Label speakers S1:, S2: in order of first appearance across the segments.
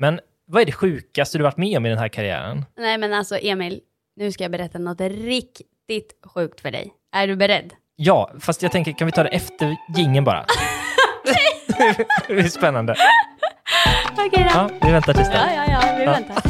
S1: Men vad är det sjukaste du varit med om i den här karriären?
S2: Nej men alltså Emil, nu ska jag berätta något riktigt sjukt för dig. Är du beredd?
S1: Ja, fast jag tänker, kan vi ta det efter gingen bara? det är spännande.
S2: Okej då.
S1: Ja, vi väntar tills
S2: Ja,
S1: det.
S2: ja, ja, vi väntar.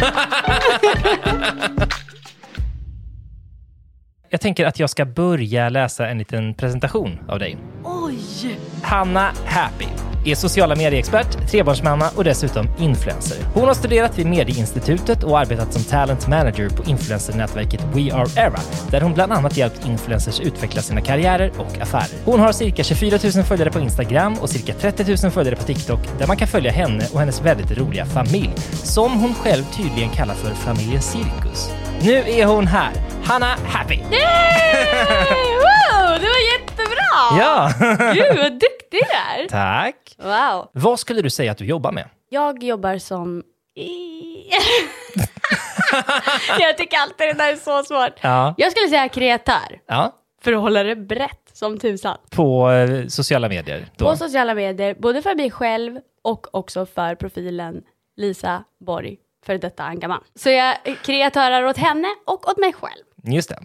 S1: Jag tänker att jag ska börja läsa en liten presentation av dig.
S2: Oj!
S1: Hanna Happy är sociala medieexpert, trebarnsmamma och dessutom influencer. Hon har studerat vid Medieinstitutet och arbetat som talent manager på influencernätverket We Are Era, där hon bland annat hjälpt influencers utveckla sina karriärer och affärer. Hon har cirka 24 000 följare på Instagram och cirka 30 000 följare på TikTok, där man kan följa henne och hennes väldigt roliga familj, som hon själv tydligen kallar för familjen Cirkus. Nu är hon här, Hanna Happy!
S2: Yay! Wow, det var jättebra!
S1: Ja!
S2: Gud vad duktig du är!
S1: Tack!
S2: Wow.
S1: Vad skulle du säga att du jobbar med?
S2: Jag jobbar som... jag tycker alltid det där är så svårt.
S1: Ja.
S2: Jag skulle säga kreatör,
S1: Ja,
S2: för att hålla det brett som tusan.
S1: på eh, sociala medier. Då.
S2: På sociala medier, både för mig själv och också för profilen Lisa Borg, för detta engagemang. Så jag är kreatörer åt henne och åt mig själv.
S1: Just det.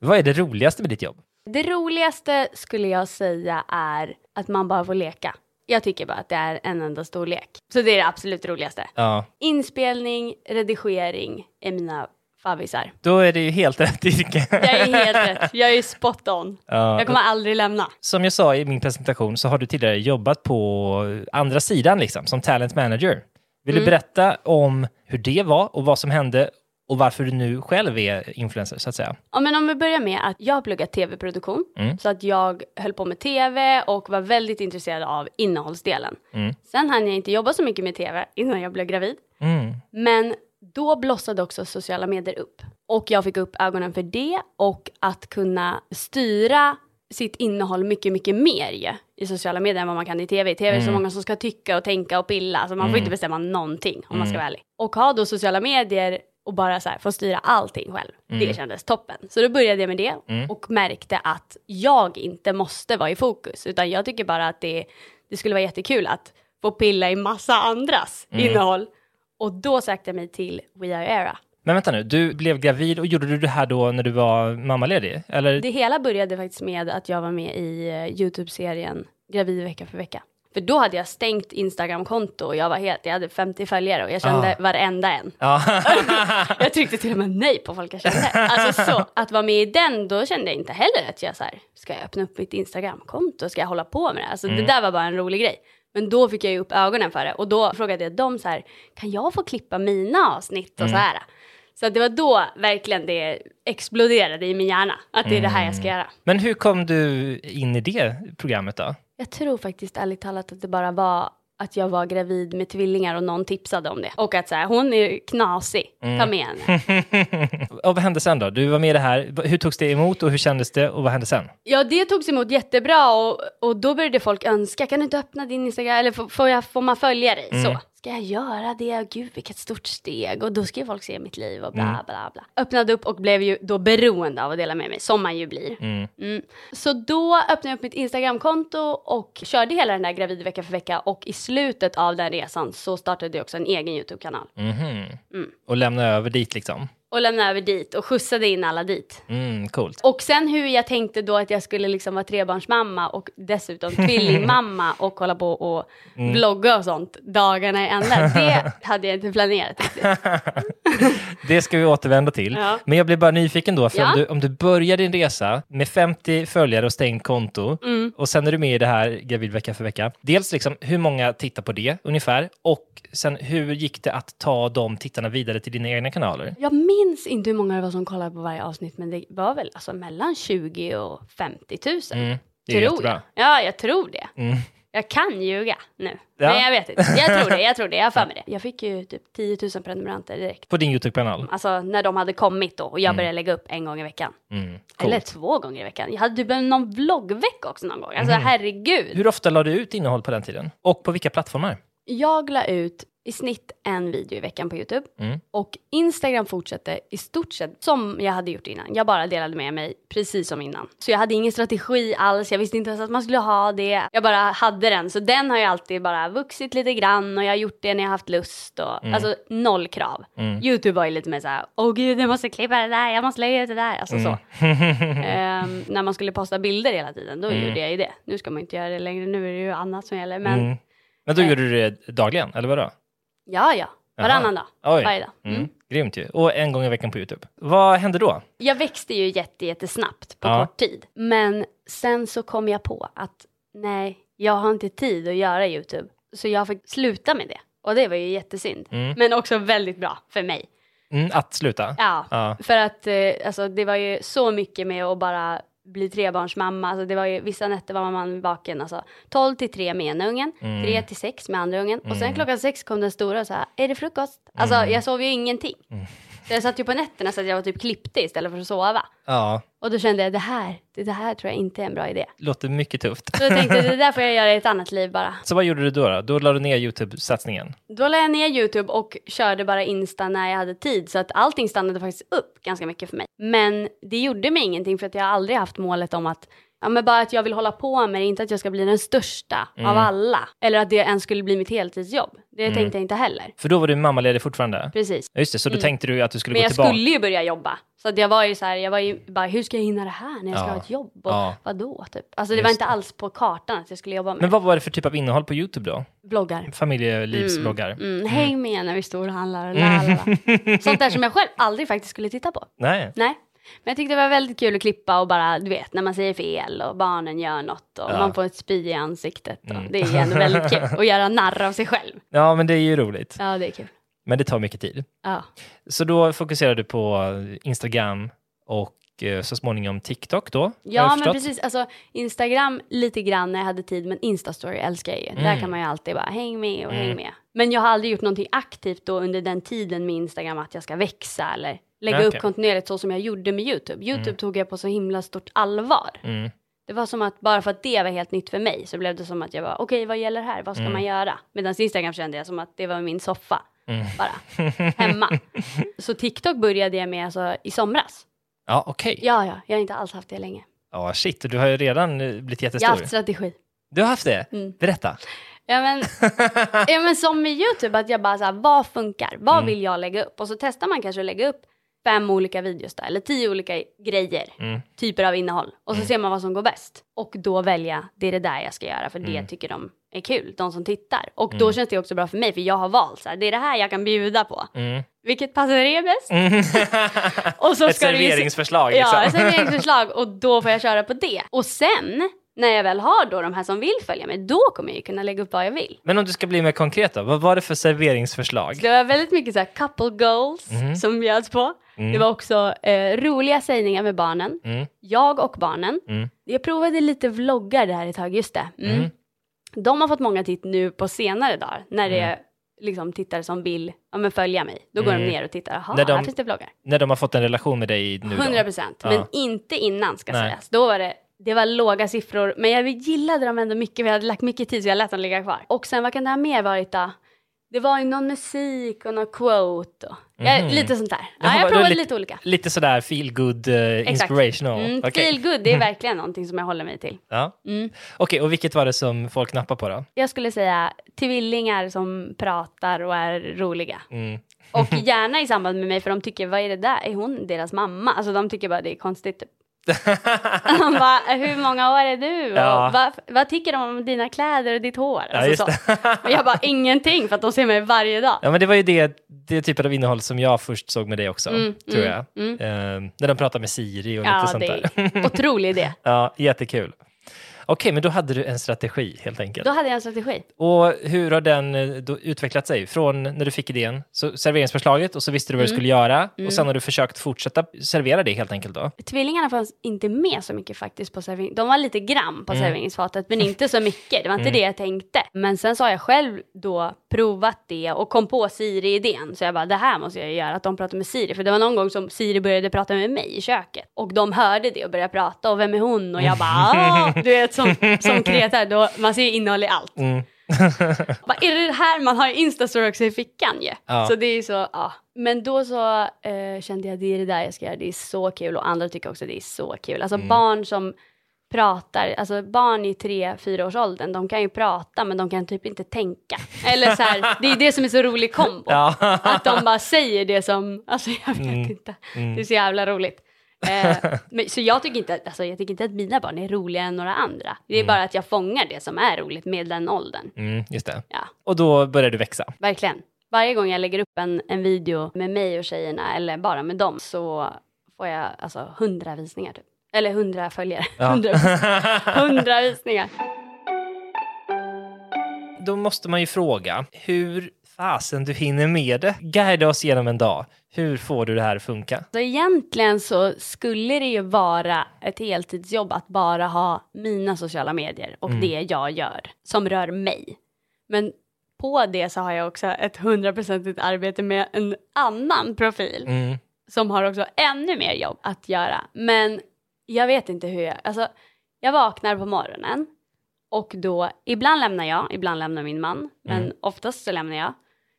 S1: Vad är det roligaste med ditt jobb?
S2: Det roligaste skulle jag säga är att man bara får leka. Jag tycker bara att det är en enda stor lek. Så det är det absolut roligaste.
S1: Ja,
S2: Inspelning, redigering är mina favvisar.
S1: då är det ju helt rätt yrke.
S2: Jag är helt rätt. Jag är spot on.
S1: Ja.
S2: Jag kommer aldrig lämna.
S1: Som jag sa i min presentation så har du tidigare jobbat på andra sidan, liksom, som talent manager. Vill du berätta om hur det var och vad som hände och varför du nu själv är influencer, så att säga?
S2: Ja, men om vi börjar med att jag har pluggat tv-produktion, så att jag höll på med tv och var väldigt intresserad av innehållsdelen. Sen hann jag inte jobba så mycket med tv innan jag blev gravid,
S1: Mm.
S2: men då blossade också sociala medier upp. Och jag fick upp ögonen för det och att kunna styra sitt innehåll mycket, mycket mer ju, i sociala medier än vad man kan i tv. I tv är det så många som ska tycka och tänka och pilla, så man får inte bestämma någonting om man ska vara ärlig. Och ha då sociala medier och bara så här, få styra allting själv. Det kändes toppen. Så då började jag med det och märkte att jag inte måste vara i fokus, utan jag tycker bara att det, det skulle vara jättekul att få pilla i massa andras innehåll. Och då sökte jag mig till We Are Era.
S1: Men vänta nu, du blev gravid och gjorde du det här då när du var mammaledig? Eller?
S2: Det hela började faktiskt med att jag var med i eh, Youtube-serien Gravid vecka för vecka. För då hade jag stängt Instagram-konto och jag var helt, jag hade 50 följare och jag kände varenda en.
S1: Ja.
S2: Jag tryckte till och med nej på folk jag kände. Alltså så, att vara med i den, då kände jag inte heller att jag så här, ska jag öppna upp mitt Instagramkonto, ska jag hålla på med det? Alltså det där var bara en rolig grej. Men då fick jag ju upp ögonen för det och då frågade jag dem så här, kan jag få klippa mina avsnitt och så här? Så att det var då verkligen det exploderade i min hjärna, att det är det här jag ska göra.
S1: Men hur kom du in i det programmet då?
S2: Jag tror faktiskt ärligt talat att det bara var att jag var gravid med tvillingar och någon tipsade om det. Och att så här, hon är ju knasig, ta med henne.
S1: Och vad hände sen då? Du var med i det här. Hur togs det emot och hur kändes det och vad hände sen?
S2: Ja, det togs emot jättebra och, och då började folk önska, kan du inte öppna din Instagram, eller får, får, jag, får man följa dig? Så. Ska jag göra det? Gud, vilket stort steg. Och då ska ju folk se mitt liv och bla, bla, bla. Öppnade upp och blev ju då beroende av att dela med mig, som man ju blir. Mm. Så då öppnade jag upp mitt Instagramkonto och körde hela den där gravid vecka för vecka och i slutet av den resan så startade jag också en egen YouTube-kanal
S1: Och lämna över dit liksom?
S2: och lämnade över dit och skjutsade in alla dit.
S1: Mm, coolt.
S2: Och sen hur jag tänkte då att jag skulle liksom vara trebarnsmamma och dessutom tvillingmamma och hålla på och
S1: Mm.
S2: vlogga och sånt dagarna i ända. Det hade jag inte planerat riktigt.
S1: Det ska vi återvända till.
S2: Ja.
S1: Men jag blev bara nyfiken då, för
S2: Ja.
S1: om, du, om du börjar din resa med 50 följare och stängt konto
S2: Mm.
S1: och sen är du med i det här Gravid vecka för vecka. Dels liksom hur många tittar på det ungefär och sen hur gick det att ta de tittarna vidare till dina egna kanaler?
S2: Jag minns inte hur många det var som kollade på varje avsnitt men det var väl alltså mellan 20 och 50 000.
S1: Mm, Det är
S2: tror
S1: jättebra. Mm.
S2: jag. Ja, jag tror det. Jag kan ljuga nu.
S1: Ja.
S2: Men jag vet inte. Jag tror det, jag tror det. Jag har för mig det. Jag fick ju typ 10 000 prenumeranter direkt.
S1: På din YouTube-kanal?
S2: Alltså när de hade kommit då och jag började lägga upp en gång i veckan.
S1: Mm,
S2: Eller
S1: coolt.
S2: två gånger i veckan. Jag hade typ en- någon vloggvecka också någon gång. Alltså herregud.
S1: Hur ofta la du ut innehåll på den tiden? Och på vilka plattformar?
S2: Jag la ut i snitt en video i veckan på Youtube.
S1: Mm.
S2: Och Instagram fortsatte i stort sett som jag hade gjort innan. Jag bara delade med mig precis som innan. Så jag hade ingen strategi alls, jag visste inte ens att man skulle ha det. Jag bara hade den, så den har ju alltid bara vuxit lite grann och jag har gjort det när jag har haft lust. Och,
S1: Mm.
S2: Alltså noll krav. Youtube var ju lite mer såhär, åh gud jag måste klippa det där, jag måste lägga ut det där. Alltså så.
S1: Mm.
S2: Ehm, när man skulle posta bilder hela tiden, då gjorde jag ju det. Nu ska man inte göra det längre, nu är det ju annat som gäller. Men eh,
S1: Mm. Men då gjorde du det dagligen, eller vadå?
S2: ja, ja. Varannan dag.
S1: Oj.
S2: Varje dag. Mm.
S1: Mm. Grymt ju. Och en gång i veckan på YouTube. Vad hände då?
S2: Jag växte ju jätte, jättesnabbt på
S1: Ja.
S2: kort tid. Men sen så kom jag på att nej, jag har inte tid att göra YouTube. Så jag fick sluta med det. Och det var ju jättesynd. Men också väldigt bra för mig.
S1: Mm, att sluta?
S2: Ja,
S1: Ja.
S2: för att eh, alltså, det var ju så mycket med att bara bli trebarnsmamma. Alltså, det var ju, vissa nätter var man vaken. Alltså, 12 till 3 med ena ungen, 3 till 6 med andra ungen. Och sen klockan 6 kom den stora och sa, är det frukost? Alltså jag sov ju ingenting. Så jag satt ju på nätterna så att jag var typ klippte istället för att sova.
S1: ja.
S2: Och då kände jag det här, det det här tror jag inte är en bra idé.
S1: Låter mycket tufft.
S2: Så jag tänkte det där får jag göra i ett annat liv bara.
S1: Så vad gjorde du då? Då, då la du ner YouTube-satsningen?
S2: Då la jag ner YouTube och körde bara Insta när jag hade tid så att allting stannade faktiskt upp ganska mycket för mig. Men det gjorde mig ingenting för att jag har aldrig haft målet om att Ja men bara att jag vill hålla på med det, inte att jag ska bli den största
S1: Mm.
S2: av alla. Eller att det ens skulle bli mitt heltidsjobb. Det tänkte jag inte heller.
S1: För då var du mammaledig fortfarande?
S2: Precis.
S1: Ja, Just det, så då tänkte du att du skulle
S2: Mm.
S1: gå
S2: Men jag
S1: tillbaka?
S2: skulle ju börja jobba. Så att jag var ju så här, jag var ju bara hur ska jag hinna det här när jag ska
S1: Ja.
S2: ha ett jobb? Och
S1: Ja.
S2: vadå typ? Alltså det
S1: Just
S2: var inte alls på kartan att jag skulle jobba med
S1: Men vad var det för typ av innehåll på YouTube då?
S2: bloggar.
S1: Familjelivsbloggar?
S2: Mm, häng med när vi storhandlar och la, la, la. Sånt där som jag själv aldrig faktiskt skulle titta på.
S1: Nej.
S2: Nej. Men jag tyckte det var väldigt kul att klippa och bara, du vet, när man säger fel och barnen gör något och man får ett spy i ansiktet. Och Det är ju ändå väldigt kul att göra narr av sig själv.
S1: Ja, men det är ju roligt.
S2: Ja, det är kul.
S1: Men det tar mycket tid.
S2: Ja.
S1: Så då fokuserade du på Instagram och eh, så småningom TikTok då? har jag
S2: Ja, men
S1: förstått.
S2: precis. Alltså, Instagram lite grann när jag hade tid, men Instastory älskar jag ju.
S1: Mm.
S2: Där kan man ju alltid bara häng med och häng med. Men jag har aldrig gjort någonting aktivt då under den tiden med Instagram att jag ska växa eller lägga
S1: Nej,
S2: upp
S1: okej.
S2: kontinuerligt så som jag gjorde med YouTube. YouTube tog jag på så himla stort allvar.
S1: Mm.
S2: Det var som att bara för att det var helt nytt för mig så blev det som att jag var okej, vad gäller här? Vad ska
S1: Mm.
S2: man göra? Medan Instagram kände jag som att det var min soffa
S1: Mm.
S2: bara hemma. Så TikTok började jag med alltså, i somras.
S1: Ja, okej.
S2: Ja, ja, jag har inte alls haft det länge.
S1: Ja, shit, du har ju redan eh, blivit
S2: Jag har
S1: jättestor.
S2: haft strategi. Mm.
S1: Du har haft det? Berätta.
S2: Ja men, ja men som med YouTube, att jag bara så här, vad funkar? Vad
S1: Mm.
S2: vill jag lägga upp? Och så testar man kanske att lägga upp fem olika videos där, eller tio olika grejer,
S1: Mm.
S2: typer av innehåll. Och så ser man vad som går bäst. Och då välja, det är det där jag ska göra, för
S1: Mm.
S2: det tycker de är kul, de som tittar. Och då känns det också bra för mig, för jag har valt så här, det är det här jag kan bjuda på. Vilket passar er bäst? och så
S1: Mm. Ett
S2: ska det ju se-
S1: serveringsförslag liksom.
S2: Ja, ett serveringsförslag och då får jag köra på det. Och sen, när jag väl har då de här som vill följa mig, då kommer jag ju kunna lägga upp vad jag vill.
S1: Men om du ska bli mer konkret då, vad var det för serveringsförslag?
S2: Det var väldigt mycket så här couple goals
S1: Mhm.
S2: som bjöds på.
S1: Mm.
S2: Det var också eh, roliga sägningar med barnen. Jag och barnen.
S1: Mm.
S2: Jag provade lite vloggar där ett tag, just det. Mm. De har fått många titt nu på senare dagar när det
S1: Mm.
S2: är liksom tittare som vill ja, men följa mig. Då går de ner och tittar, jaha,
S1: När de-
S2: här finns det vloggar.
S1: När de har fått en relation med dig nu då?
S2: 100 procent, men
S1: Ja.
S2: inte innan ska
S1: Nej.
S2: sägas. Då var det, det var låga siffror, men jag gillade dem ändå mycket för jag hade lagt mycket tid så jag lät dem ligga kvar. Och sen vad kan det ha mer varit då? Det var ju någon musik och någon quote och ja, lite sånt där.
S1: Jaha,
S2: Ja,
S1: då
S2: jag provade
S1: Mhm. lite-
S2: lite, olika.
S1: Lite sådär feel good eh, inspirational.
S2: Mm,
S1: Okej. Mhm.
S2: Feel good, det är verkligen någonting som jag håller mig till. Mm.
S1: Ja. Okej, och vilket var det som folk nappade på då?
S2: Jag skulle säga tvillingar som pratar och är roliga.
S1: Mm.
S2: Och gärna i samband med mig för de tycker, vad är det där? Är hon deras mamma? Alltså de tycker bara det är konstigt typ. De bara, hur många år är du? Och
S1: Ja.
S2: vad, vad tycker de om dina kläder och ditt hår? Alltså,
S1: just
S2: så. Och jag bara, ingenting för att de ser mig varje dag.
S1: Ja, men det var ju det, det typen av innehåll som jag först såg med dig också, tror jag. Eh, när de pratar med Siri och lite
S2: Mm, Ja,
S1: sånt
S2: det
S1: där.
S2: är otrolig idé.
S1: Ja, jättekul. men då hade du en strategi helt enkelt.
S2: Då hade jag en strategi.
S1: Och hur har den eh, då utvecklat sig? Från när du fick idén, så serveringsförslaget och så visste du
S2: Mm.
S1: vad du skulle göra och sen har du försökt fortsätta servera det helt enkelt då?
S2: Tvillingarna fanns inte med så mycket faktiskt på servering. De var lite grann på serveringsfatet, men inte så mycket. Det var inte det jag tänkte. Men sen så har jag själv då provat det och kom på Siri-idén. Så jag bara, det här måste jag ju göra, att de pratar med Siri. För det var någon gång som Siri började prata med mig i köket. Och de hörde det och började prata, och vem är hon? Och jag bara, "Ah!" du vet som, som kreatör, då, man ser ju innehåll i allt.
S1: Mm.
S2: Vad är det det här man har i Instastory också i fickan ju?
S1: Ja.
S2: Så det är ju så, ja. Men då så eh, kände jag det är det där jag ska göra, det är så kul och andra tycker också det är så kul. Alltså
S1: Mm.
S2: barn som pratar, alltså barn i tre, fyra års åldern, de kan ju prata men de kan typ inte tänka. Eller så här, det är det som är så rolig kombo.
S1: Ja. Mm.
S2: Att de bara säger det som, alltså jag vet inte, det är så jävla roligt. Eh, men, så jag tycker, inte, att- alltså, jag tycker inte att mina barn är roligare än några andra. Det är bara att jag fångar det som är roligt med den åldern.
S1: Mm, just det.
S2: Ja.
S1: Och då började du växa.
S2: Verkligen. Varje gång jag lägger upp en, en video med mig och tjejerna eller bara med dem så får jag alltså hundra visningar typ. Eller hundra följare. Hundra vis- hundra visningar.
S1: Då måste man ju fråga hur fasen du hinner med det. Guida oss genom en dag. Hur får du det här att funka?
S2: Så egentligen så skulle det ju vara ett heltidsjobb att bara ha mina sociala medier och det jag gör som rör mig. Men på det så har jag också ett hundraprocentigt arbete med en annan profil.
S1: Mm.
S2: som har också ännu mer jobb att göra. Men jag vet inte hur jag... Alltså, jag vaknar på morgonen och då... Ibland lämnar jag, ibland lämnar min man. Men
S1: Mm.
S2: oftast så lämnar jag.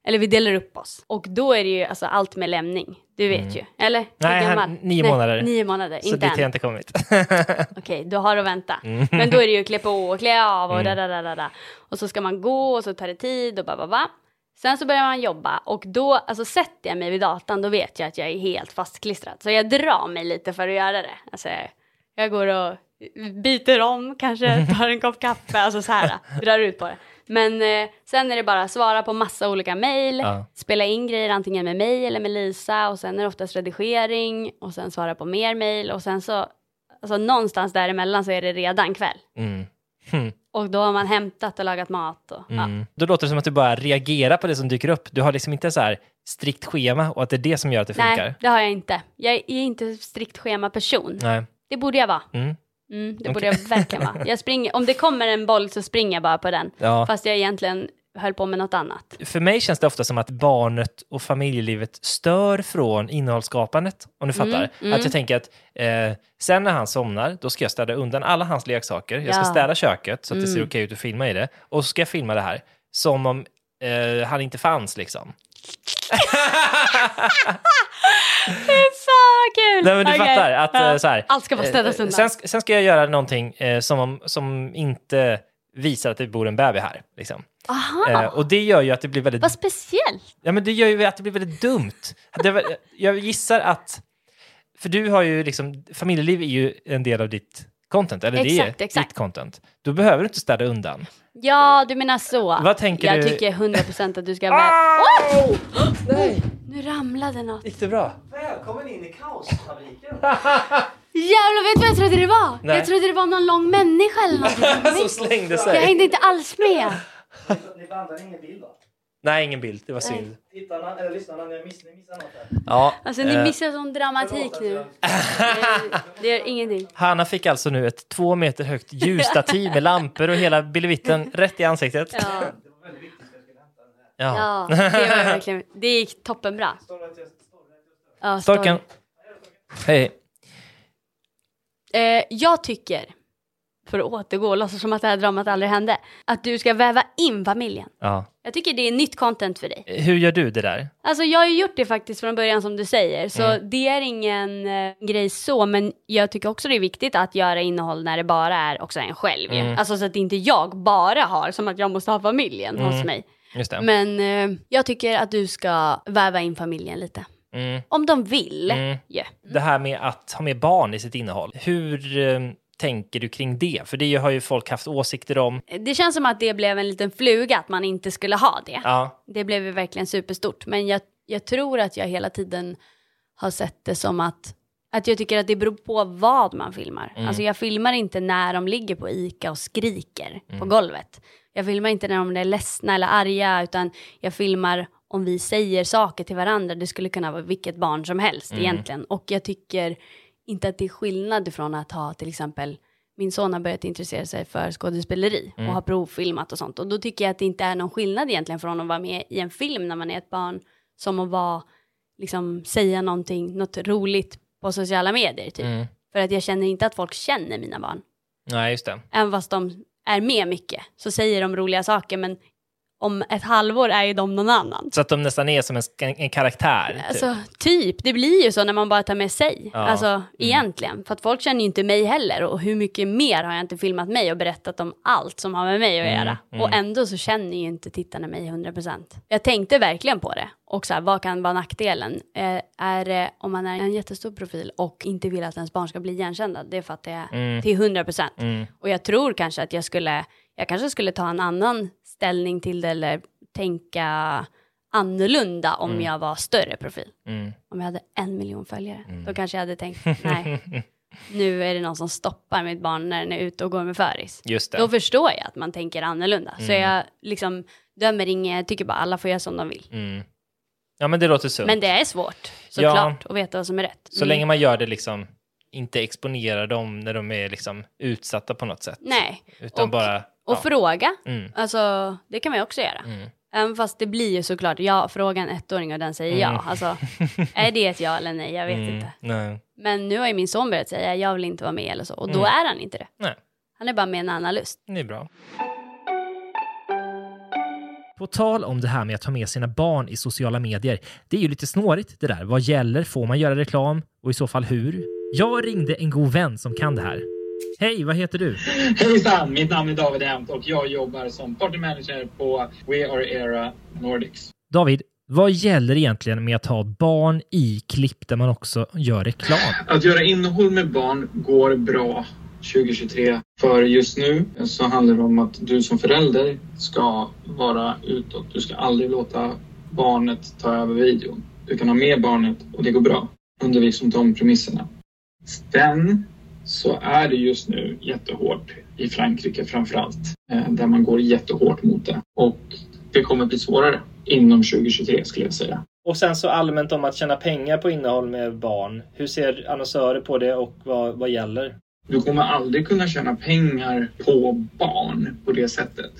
S2: Eller vi delar upp oss. Och då är det ju alltså allt med lämning. Du vet ju. Eller? Hur
S1: Mm. Nej, han-
S2: gammal?
S1: nio månader.
S2: Nio månader,
S1: Så Mm.
S2: inte
S1: dit
S2: än.
S1: har jag inte kommit.
S2: Okej, du har att vänta. Men då är det ju klä på och klä av och
S1: Mm.
S2: da, da, da, da, da. Och så ska man gå och så tar det tid och ba, ba, ba. Sen så börjar man jobba och då, alltså sätter jag mig vid datan då vet jag att jag är helt fastklistrad. Så jag drar mig lite för att göra det. Alltså jag, jag går och biter om, kanske tar en kopp kaffe, alltså så här, drar ut på det. Men eh, sen är det bara att svara på massa olika mejl,
S1: Ja.
S2: spela in grejer antingen med mig eller med Lisa och sen är det oftast redigering och sen svara på mer mejl och sen så alltså någonstans däremellan så är det redan kväll.
S1: Mm.
S2: Och då har man hämtat och lagat mat och ja.
S1: Mm. Då låter det som att du bara reagerar på det som dyker upp. Du har liksom inte så här strikt schema och att det är det som gör att det
S2: Nej,
S1: funkar.
S2: det har jag inte. Jag är inte strikt schemaperson.
S1: Nej.
S2: Det borde jag vara.
S1: Mm.
S2: Mm, det borde jag verkligen vara. Jag springer, om det kommer en boll så springer jag bara på den.
S1: Ja.
S2: Fast jag egentligen höll på med något annat.
S1: För mig känns det ofta som att barnet och familjelivet stör från innehållsskapandet, om du
S2: Mm,
S1: fattar. Att jag tänker att eh, sen när han somnar, då ska jag städa undan alla hans leksaker. Jag ska
S2: Ja. Mm.
S1: städa köket så att det ser okej ut och filma i det. Och så ska jag filma det här som om eh, han inte fanns liksom.
S2: Fan vad kul!
S1: Nej, men du
S2: Okej.
S1: fattar. Att,
S2: Ja.
S1: eh, så här,
S2: Allt ska bara städas
S1: eh, Sen,
S2: undan.
S1: sen ska jag göra någonting eh, som, om, som inte visar att det bor en bebis här. Liksom.
S2: Aha,
S1: Eh, och det gör ju att det blir väldigt
S2: Ah. vad speciellt!
S1: Ja, men det gör ju att det blir väldigt dumt. Det var, jag gissar att... För du har ju liksom... Familjeliv är ju en del av ditt content, eller
S2: Exakt,
S1: det är
S2: exakt.
S1: ditt content. Då behöver du inte städa undan.
S2: Ja, du menar så.
S1: Vad tänker
S2: jag
S1: du-
S2: tycker 100% att du ska vara... Åh! Nu ramlade något.
S1: Gick det bra?
S3: Välkommen in i kaosfabriken.
S2: Jävlar, vet du vad jag trodde det var?
S1: Nej.
S2: Jag trodde det var någon lång människa eller någonting.
S1: Som slängde
S2: Jag
S1: sig.
S2: hängde inte alls med.
S3: Ni bandade ingen bild va?
S1: Nej, ingen bild. Det var synd.
S3: Tittarna, eller lyssnarna, ni miss- ni missar något här.
S1: Ja,
S2: Alltså ni
S1: eh,
S2: missar sån dramatik nu. Eh, Det gör ingenting.
S1: Hanna fick alltså nu ett två meter högt ljusstativ med lampor och hela bilevitten rätt i ansiktet.
S2: Ja,
S1: Ja.
S2: ja det, var verkligen, det gick toppenbra. Ja, story.
S1: Storken. Hej.
S2: Eh, jag tycker, för att återgå och låtsas som att det här dramat aldrig hände, att du ska väva in familjen.
S1: Ja.
S2: Jag tycker det är nytt content för dig.
S1: Hur gör du det där?
S2: Alltså jag har ju gjort det faktiskt från början som du säger, så det är ingen eh, grej så, men jag tycker också det är viktigt att göra innehåll när det bara är också en själv. ju. Alltså så att inte jag bara har, som att jag måste ha familjen hos mig.
S1: Just det.
S2: Men eh, jag tycker att du ska väva in familjen lite.
S1: Mm.
S2: Om de vill.
S1: Mm.
S2: Yeah.
S1: Det här med att ha med barn i sitt innehåll, hur eh, tänker du kring det? För det har ju folk haft åsikter om.
S2: Det känns som att det blev en liten fluga att man inte skulle ha det.
S1: Ja,
S2: Det blev ju verkligen superstort. Men jag, jag tror att jag hela tiden har sett det som att Att jag tycker att det beror på vad man filmar. Alltså jag filmar inte när de ligger på ICA och skriker på golvet. Jag filmar inte när de är ledsna eller arga, utan jag filmar om vi säger saker till varandra. Det skulle kunna vara vilket barn som helst egentligen. Och jag tycker inte att det är skillnad från att ha till exempel min son har börjat intressera sig för skådespeleri och har provfilmat och sånt. Och då tycker jag att det inte är någon skillnad egentligen från att vara med i en film när man är ett barn som att vara, liksom säga någonting, något roligt på sociala medier typ.
S1: Mm.
S2: För att jag känner inte att folk känner mina barn.
S1: Nej, just det.
S2: Även fast de är med mycket så säger de roliga saker men om ett halvår är ju de någon annan.
S1: Så att de nästan är som en, sk- en karaktär. Typ.
S2: Alltså typ, det blir ju så när man bara tar med sig.
S1: Ja. Mm.
S2: Alltså egentligen. För att folk känner ju inte mig heller och hur mycket mer har jag inte filmat mig och berättat om allt som har med mig att
S1: Mm,
S2: göra.
S1: mm.
S2: Och ändå så känner ju inte tittarna mig 100%. Jag tänkte verkligen på det. Och så här, vad kan vara nackdelen? Eh, är det om man är en jättestor profil och inte vill att ens barn ska bli igenkända? Det fattar jag
S1: Mm.
S2: till 100%.
S1: Mm.
S2: Och jag tror kanske att jag skulle, jag kanske skulle ta en annan ställning till det eller tänka annorlunda om jag var större profil.
S1: Mm.
S2: Om jag hade en miljon följare, då kanske jag hade tänkt, nej,
S1: Mm,
S2: nu är det någon som stoppar mitt barn när den är ute och går med föris.
S1: Just det. Mm.
S2: Då förstår jag att man tänker annorlunda. Så jag liksom dömer inget, jag tycker bara alla får göra som de vill.
S1: Mm. Ja, men det låter sunt.
S2: Men det är svårt,
S1: Ja.
S2: såklart, att veta vad som är rätt.
S1: Så
S2: Mm.
S1: länge man gör det liksom, inte exponerar dem när de är liksom utsatta på något sätt.
S2: Nej,
S1: Utan
S2: och-
S1: bara...
S2: och
S1: ja.
S2: fråga.
S1: Mm.
S2: Alltså, det kan man ju också göra.
S1: Mm.
S2: Även fast det blir ju såklart, ja, fråga en ettåring och den säger ja. Alltså, är det ett ja eller nej? Jag vet
S1: Mm.
S2: inte.
S1: Nej.
S2: Men nu har ju min son börjat säga, jag vill inte vara med eller så. Och då är han inte det.
S1: Mm. Nej.
S2: Han är bara med en annan lust.
S1: Det är bra. På tal om det här med att ta med sina barn i sociala medier. Det är ju lite snårigt det där. Vad gäller? Får man göra reklam? Och i så fall hur? Jag ringde en god vän som kan det här. Hej, vad heter du?
S4: Hejsan! Mitt namn är David Emt och jag jobbar som party manager på We Are Era Nordics.
S1: David, vad gäller egentligen med att ha barn i klipp där man också gör reklam?
S4: Att göra innehåll med barn går bra 2023. För just nu så handlar det om att du som förälder ska vara utåt. Du ska aldrig låta barnet ta över videon. Du kan ha med barnet och det går bra. Under liksom de premisserna. Sen så är det just nu jättehårt i Frankrike framförallt. eh, Där man går jättehårt mot det. Och det kommer bli svårare inom 2023 skulle jag säga.
S1: Och sen så allmänt om att tjäna pengar på innehåll med barn. Hur ser annonsörer på det och vad, vad gäller?
S4: Du kommer aldrig kunna tjäna pengar på barn på det sättet.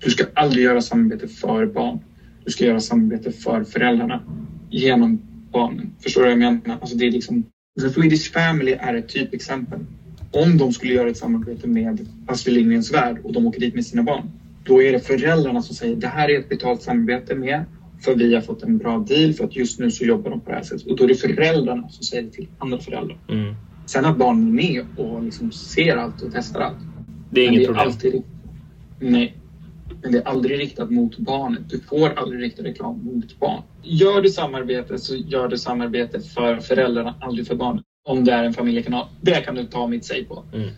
S4: Du ska aldrig göra samarbete för barn. Du ska göra samarbete för föräldrarna genom barnen. Förstår du vad jag menar? Alltså det är liksom, The Swedish Family är ett typexempel. Om de skulle göra ett samarbete med Astrid Lindgrens Värld och de åker dit med sina barn. Då är det föräldrarna som säger det här är ett betalt samarbete med för vi har fått en bra deal för att just nu så jobbar de på det här sättet. Och då är det föräldrarna som säger det till andra föräldrar.
S1: Mm.
S4: Sen att barnen är med och liksom ser allt och testar allt.
S1: Det är
S4: Men
S1: inget problem.
S4: Alltid, nej. Men det är aldrig riktat mot barnet. Du får aldrig rikta reklam mot barn. Gör du samarbete så gör du samarbete för föräldrarna, aldrig för barnet. Om det är en familjekanal. Det kan du ta mitt säg på.
S1: Mm.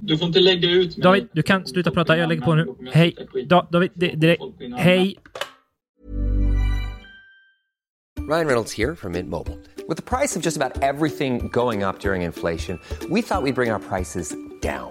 S4: Du får inte lägga ut... mig.
S1: David, du kan sluta prata. Jag lägger på nu. Hej. Da, David, det, det, hej.
S5: Ryan Reynolds here from Mint Mobile. With the price of just about everything going up during inflation, we thought we'd bring our prices down.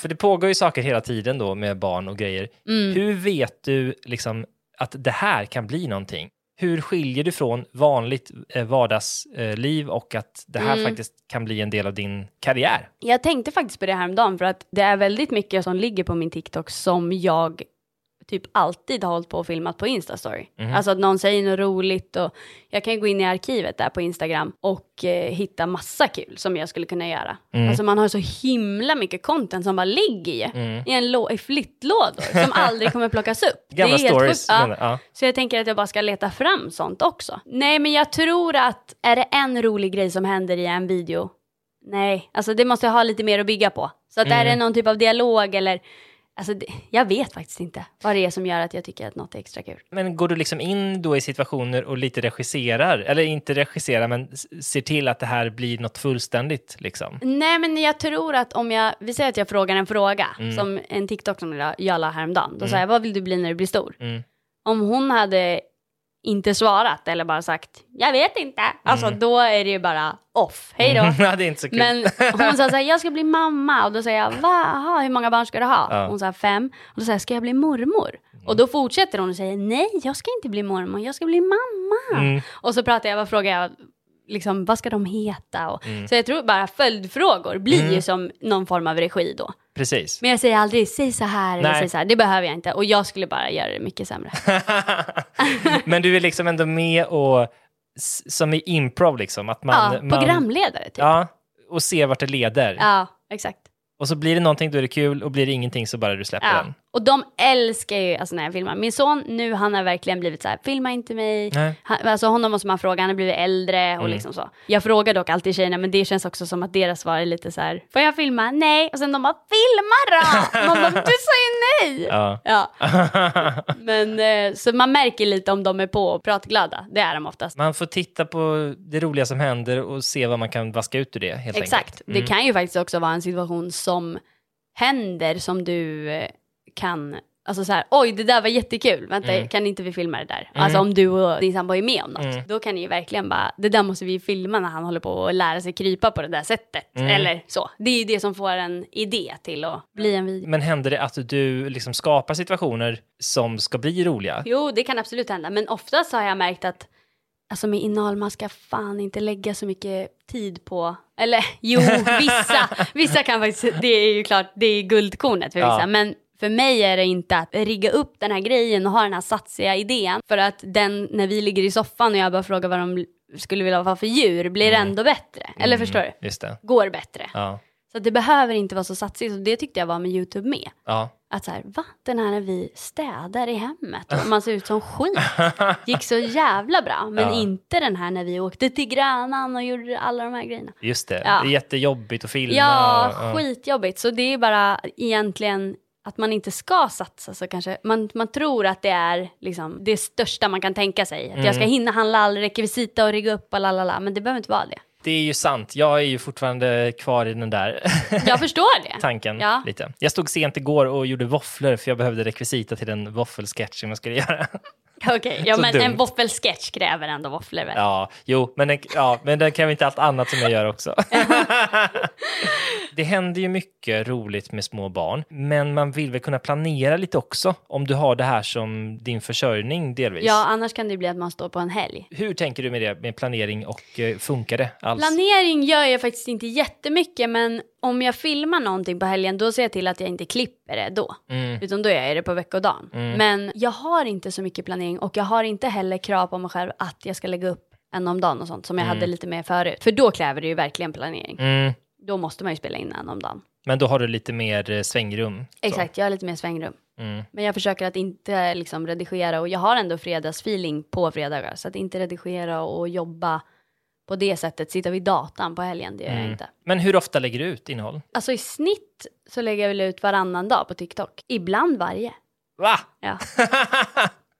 S1: För det pågår ju saker hela tiden då med barn och grejer. Hur vet du liksom att det här kan bli någonting? hur skiljer du från vanligt eh, vardagsliv och att det här
S2: Mm.
S1: faktiskt kan bli en del av din karriär?
S2: Jag tänkte faktiskt på det här om dagen för att det är väldigt mycket som ligger på min TikTok som jag typ alltid har hållit på och filmat på Instastory.
S1: Mhm.
S2: Alltså att någon säger något roligt och jag kan ju gå in i arkivet där på Instagram och eh, hitta massa kul som jag skulle kunna göra.
S1: Mm.
S2: Alltså man har så himla mycket content som bara ligger i,
S1: Mm.
S2: i, en lå- i flyttlådor som aldrig kommer plockas upp.
S1: Gamla
S2: helt
S1: stories.
S2: sjukt. Ja.
S1: menar- ja.
S2: Så jag tänker att jag bara ska leta fram sånt också. Nej, men jag tror att är det en rolig grej som händer i en video? Nej, alltså det måste jag ha lite mer att bygga på. Så att är det
S1: Mm.
S2: någon typ av dialog eller, alltså det, jag vet faktiskt inte vad det är som gör att jag tycker att något är extra kul.
S1: Men går du liksom in då i situationer och lite regisserar, eller inte regisserar, men s- ser till att det här blir något fullständigt liksom?
S2: Nej, men jag tror att om jag, vi säger att jag frågar en fråga, som en TikTok som jag- jag la häromdagen, då sa jag vad vill du bli när du blir stor?
S1: Mm.
S2: Om hon hade inte svarat eller bara sagt jag vet inte, alltså då är det ju bara off, hej då.
S1: Ja, det är inte så kul.
S2: Men hon sa såhär, jag ska bli mamma. Och då säger jag, va? Aha, hur många barn ska du ha?
S1: Ja. Mm.
S2: Hon sa fem. Och då säger jag, ska jag bli mormor? Och då fortsätter hon och säger, nej, jag ska inte bli mormor, jag ska bli mamma.
S1: Mm.
S2: Och så pratar jag, vad frågar jag? Liksom, vad ska de heta? Och,
S1: Mm.
S2: Så jag tror bara följdfrågor blir ju som någon form av regi då.
S1: Precis.
S2: Men jag säger aldrig, säg så här eller
S1: Nej.
S2: säg så här. Det behöver jag inte. Och jag skulle bara göra det mycket sämre.
S1: men du är liksom ändå med och, s- som i improv liksom, att man...
S2: ja,
S1: man,
S2: programledare typ. Ja,
S1: Ja, och ser vart det leder.
S2: exakt.
S1: Och så blir det någonting då är det kul och blir det ingenting så bara du släpper
S2: Ja.
S1: den.
S2: Och de älskar ju alltså, när jag filmar. Min son nu, han har verkligen blivit så här, filma inte mig.
S1: Nej. Mm.
S2: Han, alltså honom måste man fråga, han har blivit äldre och liksom så. Jag frågar dock alltid tjejerna, men det känns också som att deras svar är lite så här, får jag filma? Nej. Och sen de bara, filma då! man bara, du sa ju nej!
S1: Ja.
S2: Ja, men eh, så man märker lite om de är på och pratglada. Det är de oftast.
S1: man får titta på det roliga som händer och se vad man kan vaska ut ur det helt
S2: Exakt.
S1: enkelt. Mm.
S2: Det kan ju faktiskt också vara en situation som händer som du eh, kan, alltså så här, oj det där var jättekul, vänta
S1: Mm.
S2: kan inte vi filma det där? Alltså om du och din sambo är med om något, då kan ni ju verkligen bara, det där måste vi ju filma när han håller på att lära sig krypa på det där sättet.
S1: Mm.
S2: Eller så. Det är ju det som får en idé till att bli en video.
S1: Men händer det att du liksom skapar situationer som ska bli roliga?
S2: Jo, det kan absolut hända, men oftast har jag märkt att Alltså med inal, man ska fan inte lägga så mycket tid på, eller jo, vissa, vissa kan faktiskt, det är ju klart, det är guldkornet för
S1: Ja.
S2: vissa, men för mig är det inte att rigga upp den här grejen och ha den här satsiga idén, för att den, när vi ligger i soffan och jag bara frågar vad de skulle vilja ha för djur, blir ändå bättre, eller förstår du?
S1: Just det.
S2: Går bättre.
S1: Ja.
S2: Så att det behöver inte vara så satsigt, och det tyckte jag var med YouTube med.
S1: ja.
S2: Att så här, va? Den här när vi städar i hemmet och man ser ut som skit. Gick så jävla bra. Men
S1: Ja.
S2: inte den här när vi åkte till Grönan och gjorde alla de här grejerna.
S1: Just det.
S2: Ja.
S1: Det är jättejobbigt att filma.
S2: Ja,
S1: och-
S2: skitjobbigt. Så det är bara egentligen att man inte ska satsa så kanske. Man, man tror att det är liksom det största man kan tänka sig. Att jag ska
S1: Mm.
S2: hinna handla all rekvisita och rigga upp och lalala. Men det behöver inte vara det.
S1: Det är ju sant. Jag är ju fortfarande kvar i den där
S2: Jag förstår det.
S1: tanken
S2: Ja.
S1: lite. Jag stod sent igår och gjorde våfflor för jag behövde rekvisita till den våffelsketch som jag skulle göra.
S2: Okej, ja,
S1: Så
S2: men
S1: dumt.
S2: en våffelsketch kräver ändå våfflor väl?
S1: Ja, jo, men den, ja, men den kräver inte allt annat som jag gör också. det händer ju mycket roligt med små barn, men man vill väl kunna planera lite också om du har det här som din försörjning delvis.
S2: Ja, annars kan det bli att man står på en helg.
S1: Hur tänker du med det med planering och eh, funkar det alls?
S2: Planering gör jag faktiskt inte jättemycket men om jag filmar någonting på helgen då ser jag till att jag inte klipper det då.
S1: Mm.
S2: Utan då gör jag det på veckodagen. Men jag har inte så mycket planering och jag har inte heller krav på mig själv att jag ska lägga upp en om dagen och sånt som jag hade lite mer förut. För då kräver det ju verkligen planering.
S1: Mm.
S2: Då måste man ju spela in en om dagen.
S1: Men då har du lite mer eh, svängrum. så.
S2: Exakt, jag har lite mer svängrum.
S1: Mm.
S2: Men jag försöker att inte liksom redigera och jag har ändå fredagsfeeling på fredagar. Så att inte redigera och jobba på det sättet, sitta vid datan på helgen, det gör jag inte.
S1: Men hur ofta lägger du ut innehåll?
S2: Alltså i snitt så lägger jag väl ut varannan dag på TikTok. Ibland varje.
S1: Va?
S2: Ja.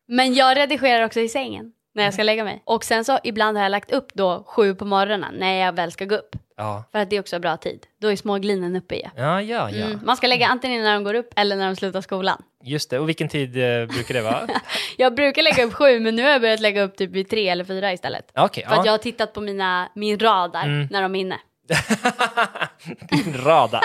S2: Men jag redigerar också i sängen när jag ska lägga mig. Och sen så ibland har jag lagt upp då sju på morgonen när jag väl ska gå upp.
S1: ja.
S2: För att det är också bra tid. Då är småglinen uppe igen.
S1: Ja, ja, ja.
S2: Mm. Man ska lägga antingen när de går upp eller när de slutar skolan.
S1: Just det. Och vilken tid eh, brukar det vara?
S2: Jag brukar lägga upp sju men nu har jag börjat lägga upp typ vid tre eller fyra istället.
S1: Okej,
S2: För att jag
S1: ja. Mm.
S2: har tittat på mina, min radar när de är inne.
S1: Din radar.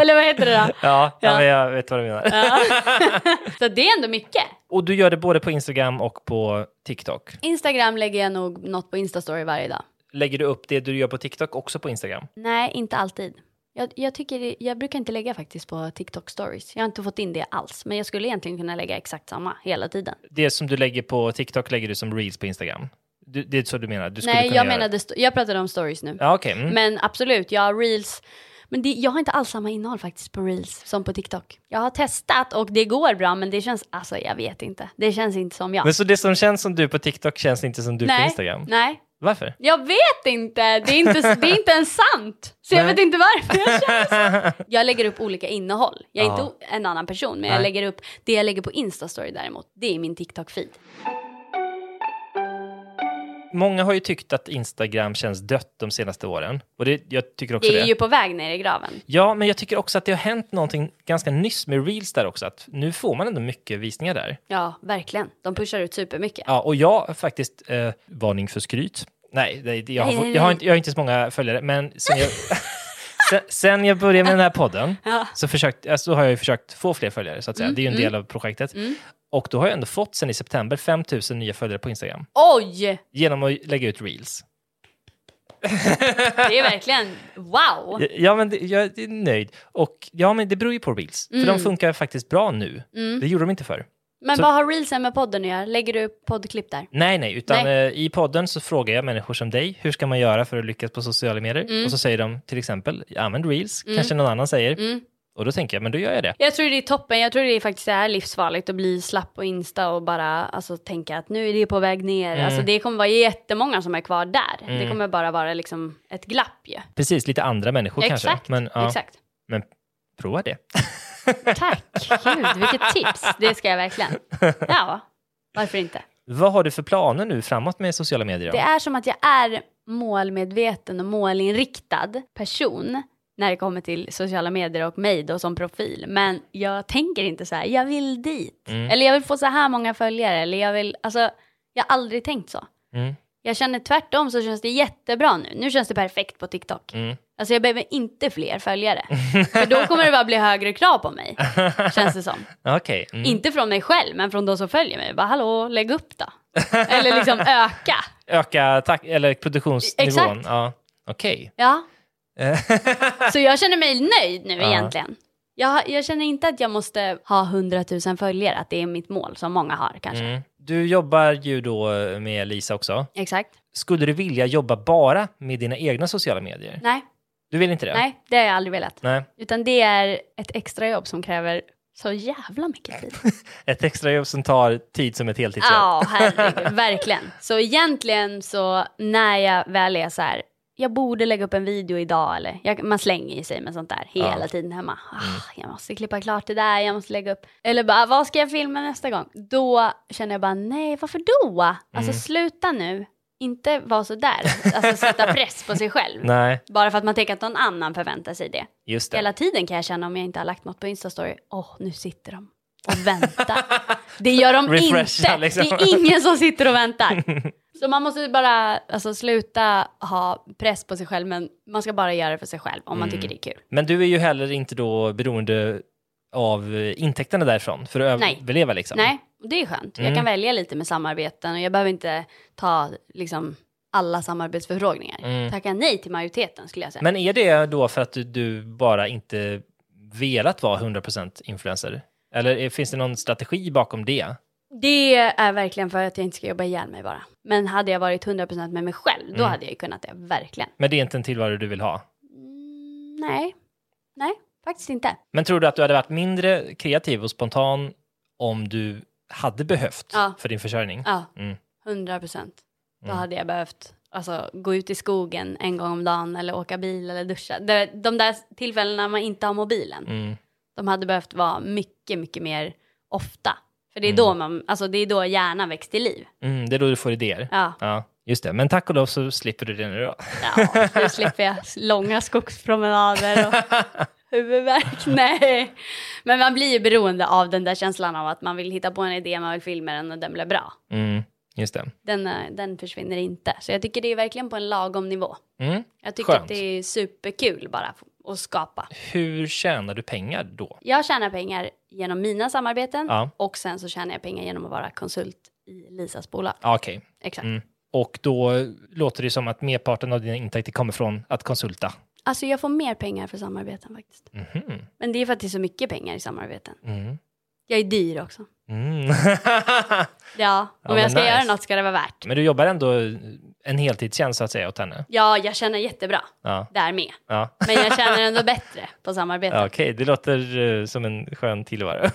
S2: Eller vad heter det då?
S1: ja, ja.
S2: Ja.
S1: Men jag vet vad du menar.
S2: Så det är ändå mycket.
S1: Och du gör det både på Instagram och på TikTok.
S2: Instagram lägger jag nog något på Instastory varje dag.
S1: Lägger du upp det du gör på TikTok också på Instagram?
S2: Nej, inte alltid. Jag, jag, tycker, det- jag brukar inte lägga faktiskt på TikTok stories. Jag har inte fått in det alls. Men jag skulle egentligen kunna lägga exakt samma hela tiden.
S1: Det som du lägger på TikTok lägger du som reels på Instagram? Du, det är så du menar? Du skulle
S2: Nej,
S1: kunna
S2: jag
S1: göra det.
S2: menade, sto- jag pratade om stories nu.
S1: Ja, okej. Mm.
S2: Men absolut, jag har reels. Men det, jag har inte alls samma innehåll faktiskt på reels som på TikTok. Jag har testat och det går bra men det känns, alltså jag vet inte. Det känns inte som jag.
S1: Men så det som känns som du på TikTok känns inte som du på
S2: nej,
S1: Instagram?
S2: nej.
S1: Varför?
S2: Jag vet inte, det är inte, det är inte ens sant. Så jag
S1: Nej.
S2: vet inte varför jag känner så. Jag lägger upp olika innehåll. Jag är inte en annan person, men jag
S1: Nej.
S2: lägger upp det jag lägger på Instastory däremot. Det är min TikTok-feed.
S1: Många har ju tyckt att Instagram känns dött de senaste åren. Och det, jag tycker också
S2: Det
S1: det.
S2: är ju på väg ner i graven.
S1: Ja, men jag tycker också att det har hänt någonting ganska nyss med reels där också. Att nu får man ändå mycket visningar där.
S2: Ja, verkligen. De pushar ut supermycket.
S1: Ja, och jag faktiskt, eh, varning för skryt. Nej, nej, jag, har,
S2: Nej, nej,
S1: jag, har
S2: nej.
S1: inte, jag har inte så många följare, men sen jag, sen, sen jag började med den här podden så, försökt, alltså, har jag ju försökt få fler följare, så att säga.
S2: Mm,
S1: det är ju en del av projektet. Och då har jag ändå fått sen i september 5 000 nya följare på Instagram
S2: Oj!
S1: genom att lägga ut reels.
S2: Det är verkligen wow!
S1: Ja, men det, jag är nöjd. Och ja, men det beror ju på reels, för
S2: Mm.
S1: de funkar faktiskt bra nu. Det gjorde de inte förr.
S2: Men
S1: Så-
S2: vad har reelsen med podden att göra? Lägger du upp poddklipp där?
S1: Nej, nej, utan Eh, i podden så frågar jag människor som dig, hur ska man göra för att lyckas på sociala medier?
S2: Mm.
S1: Och så säger de till exempel, använd reels, kanske någon annan säger.
S2: Mm.
S1: Och då tänker jag, men då gör jag det.
S2: Jag tror det är toppen. Jag tror det är faktiskt det här livsfarligt att bli slapp på Insta och bara alltså, tänka att nu är det på väg ner.
S1: Mm.
S2: Alltså, det kommer vara jättemånga som är kvar där. Det kommer bara vara liksom ett glapp ju.
S1: Precis, lite andra människor
S2: Exakt.
S1: kanske. Men, ja,
S2: Exakt.
S1: men prova det.
S2: Tack. Gud, vilket tips. Det ska jag verkligen. Ja, varför inte?
S1: Vad har du för planer nu framåt med sociala medier?
S2: Det är som att jag är målmedveten och målinriktad person när det kommer till sociala medier och mig då som profil. Men jag tänker inte så här, jag vill dit.
S1: Mm.
S2: Eller jag vill få så här många följare. Eller jag vill, alltså, jag har aldrig tänkt så.
S1: Mm.
S2: Jag känner tvärtom så känns det jättebra nu. Nu känns det perfekt på TikTok.
S1: Mm.
S2: Alltså jag behöver inte fler följare. För då kommer det bara bli högre krav på mig. Känns det som.
S1: Okej. Mm.
S2: Inte från mig själv, men från de som följer mig. Bara hallå, lägg upp då. Eller liksom öka.
S1: Öka tak- eller produktionsnivån.
S2: Exakt.
S1: Ja. Okej.
S2: Ja. så jag känner mig nöjd nu
S1: Eh. Ja.
S2: egentligen. Jag, jag känner inte att jag måste ha 100 000 följare, att det är mitt mål som många har kanske.
S1: Mm. Du jobbar ju då med Lisa också.
S2: Exakt.
S1: Skulle du vilja jobba bara med dina egna sociala medier?
S2: Nej,
S1: Du vill inte det?
S2: nej, det har jag aldrig velat.
S1: Nej.
S2: Utan det är ett extra jobb som kräver så jävla mycket tid.
S1: Ett extrajobb som tar tid som ett heltidsjobb.
S2: Ja, herregud, verkligen. Så egentligen så när jag väl är så här, jag borde lägga upp en video idag eller, jag, man slänger i sig med sånt där hela
S1: Ja. Mm.
S2: tiden hemma. Ah, jag måste klippa klart det där, jag måste lägga upp, eller bara vad ska jag filma nästa gång? Då känner jag bara nej, varför då? Alltså
S1: Mm.
S2: sluta nu, inte vara så där, alltså sätta press på sig själv.
S1: Nej,
S2: Bara för att man tänker att någon annan förväntar sig det.
S1: just det.
S2: Hela tiden kan jag känna om jag inte har lagt något på Instastory, åh nu sitter de och väntar. Det gör de
S1: Refresha,
S2: inte.
S1: liksom.
S2: Det är ingen som sitter och väntar. Så man måste bara alltså, sluta ha press på sig själv, men man ska bara göra det för sig själv om
S1: Mm.
S2: man tycker det är kul.
S1: Men du är ju heller inte då beroende av eh, intäkterna därifrån för att
S2: Nej.
S1: överleva liksom.
S2: Nej, och det är skönt.
S1: Mm.
S2: Jag kan välja lite med samarbeten och jag behöver inte ta liksom, alla samarbetsförfrågningar. Tacka nej till majoriteten skulle jag säga.
S1: Mm. Men är det då för att du, du bara inte velat vara 100% influencer? Eller är- finns det någon strategi bakom det?
S2: Det är verkligen för att jag inte ska jobba ihjäl mig bara. Men hade jag varit 100% med mig själv, då
S1: Mm.
S2: hade jag ju kunnat det, verkligen.
S1: Men det är inte en tillvaro du vill ha?
S2: Mm, nej, nej, faktiskt inte.
S1: Men tror du att du hade varit mindre kreativ och spontan om du hade behövt
S2: Ja.
S1: för din försörjning?
S2: Ja,
S1: Mm.
S2: 100 procent. Då hade jag behövt alltså, gå ut i skogen en gång om dagen eller åka bil eller duscha. De, de där tillfällena man inte har mobilen,
S1: Mm.
S2: de hade behövt vara mycket, mycket mer ofta. För det är, då, man, alltså, det är då hjärnan väcks till liv.
S1: Mm, det är då du får idéer?
S2: Ja.
S1: ja. Just det, men tack och lov så slipper du det nu då.
S2: Ja, nu slipper jag långa skogspromenader och huvudvärk. Nej, men man blir ju beroende av den där känslan av att man vill hitta på en idé, man vill filma den och den blir bra.
S1: Mm. Just det.
S2: Den, eh, den försvinner inte. Så jag tycker det är verkligen på en lagom nivå.
S1: Mm.
S2: Jag tycker
S1: Skönt.
S2: att det är superkul bara f- att skapa.
S1: Hur tjänar du pengar då?
S2: Jag tjänar pengar genom mina samarbeten
S1: Ja.
S2: och sen så tjänar jag pengar genom att vara konsult i Lisas bolag.
S1: Ja, Okej.
S2: Exakt.
S1: Mm. Och då låter det som att merparten av dina intäkter kommer från att konsulta.
S2: Alltså jag får mer pengar för samarbeten faktiskt.
S1: Mhm.
S2: Men det är för att det är så mycket pengar i samarbeten.
S1: Mm.
S2: Jag är dyr också.
S1: Mm.
S2: Ja, om
S1: men
S2: jag ska
S1: nice.
S2: göra något ska det vara värt.
S1: Men du jobbar ändå en heltidstjänst så att säga åt henne?
S2: Ja, jag känner jättebra
S1: Ja.
S2: där med.
S1: ja.
S2: Men jag känner ändå bättre på samarbeten.
S1: Ja, Okej, det låter eh, som en skön tillvaro.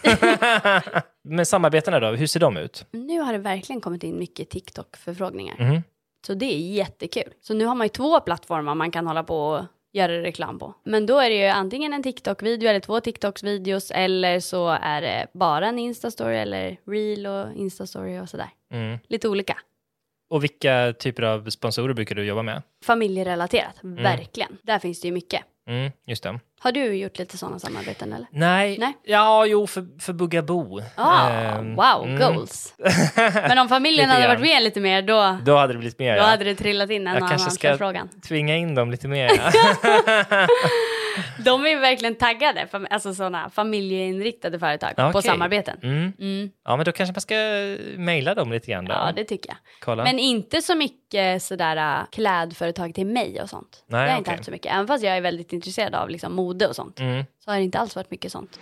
S1: Men samarbetena då, hur ser de ut?
S2: Nu har det verkligen kommit in mycket TikTok-förfrågningar.
S1: Mhm.
S2: Så det är jättekul. Så nu har man ju två plattformar man kan hålla på och göra reklam på. Men då är det ju antingen en TikTok-video eller två TikToks-videos eller så är det bara en Insta-story eller reel och Insta-story och sådär.
S1: Mm.
S2: Lite olika.
S1: Och vilka typer av sponsorer brukar du jobba med?
S2: Familjerelaterat, verkligen. Där finns det ju mycket.
S1: Mm, just det.
S2: Har du gjort lite sådana samarbeten eller?
S1: Nej,
S2: Nej.
S1: ja, jo, för, för Bugabo.
S2: Ah,
S1: Ehm,
S2: wow,
S1: mm.
S2: goals. Men om familjen
S1: Lite
S2: hade
S1: grann.
S2: varit med lite mer då,
S1: Då hade det blivit mer,
S2: då
S1: ja.
S2: hade det trillat in en
S1: Jag
S2: och
S1: kanske
S2: annan
S1: ska-
S2: förfrågan.
S1: Tvinga in dem lite mer. Ja.
S2: De är verkligen taggade, fam- alltså sådana familjeinriktade företag på
S1: Okej.
S2: samarbeten.
S1: Mm.
S2: Mm.
S1: Ja, men då kanske man ska mejla dem lite grann. Då.
S2: Ja, det tycker jag.
S1: Kolla.
S2: Men inte så mycket sådär äh, klädföretag till mig och sånt.
S1: Nej,
S2: det har jag
S1: okej.
S2: inte haft så mycket. Även fast jag är väldigt intresserad av liksom, mode och sånt.
S1: Mm.
S2: Så har det inte alls varit mycket sånt.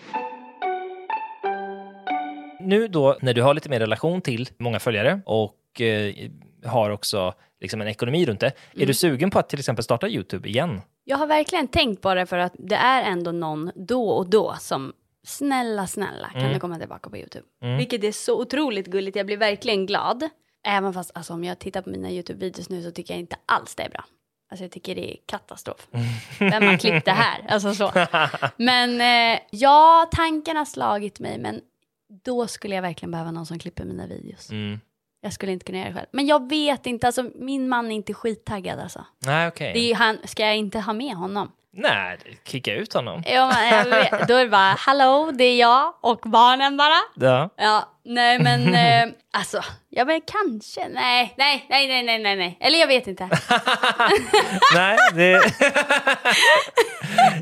S1: Nu då, när du har lite mer relation till många följare och eh, har också liksom en ekonomi runt det, är du sugen på att till exempel starta YouTube igen?
S2: Jag har verkligen tänkt på det för att det är ändå någon då och då som snälla, snälla kan du komma tillbaka på YouTube. Vilket är så otroligt gulligt. Jag blir verkligen glad. Även fast alltså, om jag tittar på mina YouTube-videos nu så tycker jag inte alls det är bra. Alltså jag tycker det är katastrof. Vem har klippt det här? Alltså så. Men eh, ja, tanken har slagit mig men då skulle jag verkligen behöva någon som klipper mina videos.
S1: Mm.
S2: Jag skulle inte kunna göra det själv. Men jag vet inte, alltså min man är inte skittaggad alltså.
S1: Nej, okej.
S2: Det är, ju han, ska jag inte ha med honom?
S1: Nej, kicka ut honom.
S2: Ja, men eh, jag vet. Då är det bara, hallå, det är jag och barnen bara.
S1: Ja.
S2: Ja, nej men eh, alltså, ja men kanske, nej, nej, nej, nej, nej, nej, nej, eller jag vet inte.
S1: Nej, det...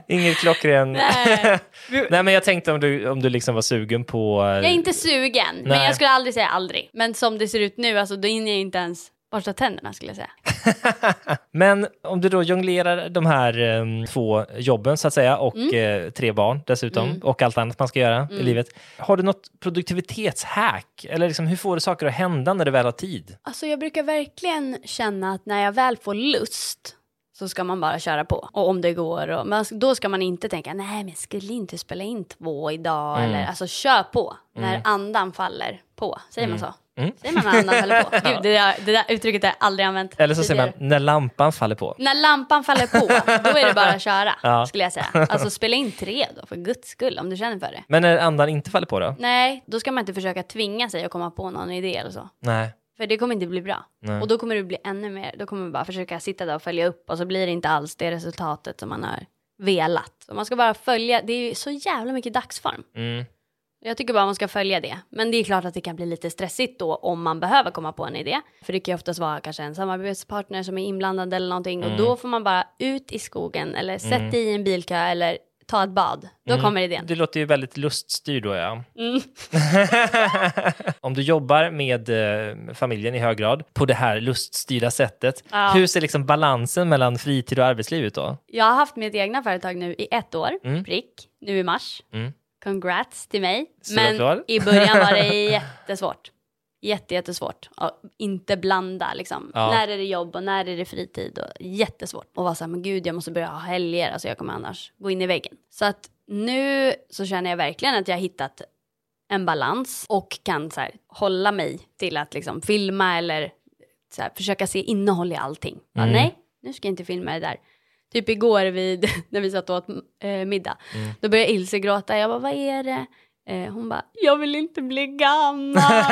S1: Inget klockren...
S2: Nej.
S1: Nej, men jag tänkte om du, om du liksom var sugen på... eh,
S2: Jag är inte sugen, men
S1: Nej.
S2: jag skulle aldrig säga aldrig. Men som det ser ut nu, alltså då hinner jag inte ens borsta tänderna skulle jag säga.
S1: Men om du då jonglerar de här eh, två jobben så att säga och
S2: Mm.
S1: eh, tre barn dessutom och allt annat man ska göra i livet. Har du något produktivitetshack? Eller liksom, hur får du saker att hända när du väl har tid?
S2: Alltså jag brukar verkligen känna att när jag väl får lust så ska man bara köra på. Och om det går. Och, men då ska man inte tänka, nej men jag skulle inte spela in två idag.
S1: Mm.
S2: Eller, alltså kör på när andan faller på. Säger
S1: Mm.
S2: man så? Säger man när andan faller på? Gud, det där, det där uttrycket har jag aldrig använt
S1: Eller så säger
S2: tidigare.
S1: man när lampan faller på.
S2: När lampan faller på, då är det bara att köra.
S1: Ja.
S2: Skulle jag säga. Alltså spela in tre då, för guds skull, om du känner för det.
S1: Men när andan inte faller på då?
S2: Nej, då ska man inte försöka tvinga sig att komma på någon idé eller så.
S1: Nej.
S2: För det kommer inte bli bra. Och då kommer det bli ännu mer. Då kommer man bara försöka sitta där och följa upp och så blir det inte alls det resultatet som man har velat. Så man ska bara följa. Det är ju så jävla mycket dagsform.
S1: Mm.
S2: Jag tycker bara man ska följa det. Men det är klart att det kan bli lite stressigt då om man behöver komma på en idé. För det kan ju oftast vara kanske en samarbetspartner som är inblandad eller någonting. Och då får man bara ut i skogen eller sätta i en bilkö eller ta ett bad. Då kommer idén.
S1: Det låter ju väldigt luststyrd då, ja.
S2: Mm.
S1: Om du jobbar med eh, familjen i hög grad på det här luststyrda sättet,
S2: Ja.
S1: hur ser liksom balansen mellan fritid och arbetsliv ut då?
S2: Jag har haft mitt egna företag nu i ett år, prick, nu i mars.
S1: Mm.
S2: Congrats till mig.
S1: Så
S2: Men
S1: glad.
S2: i början var det jättesvårt. Jätte, jättesvårt att inte blanda liksom.
S1: Ja.
S2: När är det jobb och när är det fritid? Och jättesvårt. Och vara så här, men gud jag måste börja ha helger, alltså jag kommer annars gå in i väggen. Så att nu så känner jag verkligen att jag har hittat en balans och kan så här, hålla mig till att liksom filma eller så här, försöka se innehåll i allting. Bara,
S1: Mm.
S2: Nej, nu ska jag inte filma det där. Typ
S1: Mm.
S2: igår vid, när vi satt och åt eh, middag, då började Ilse gråta. Jag bara, vad är det? Eh, hon bara, jag vill inte bli gammal.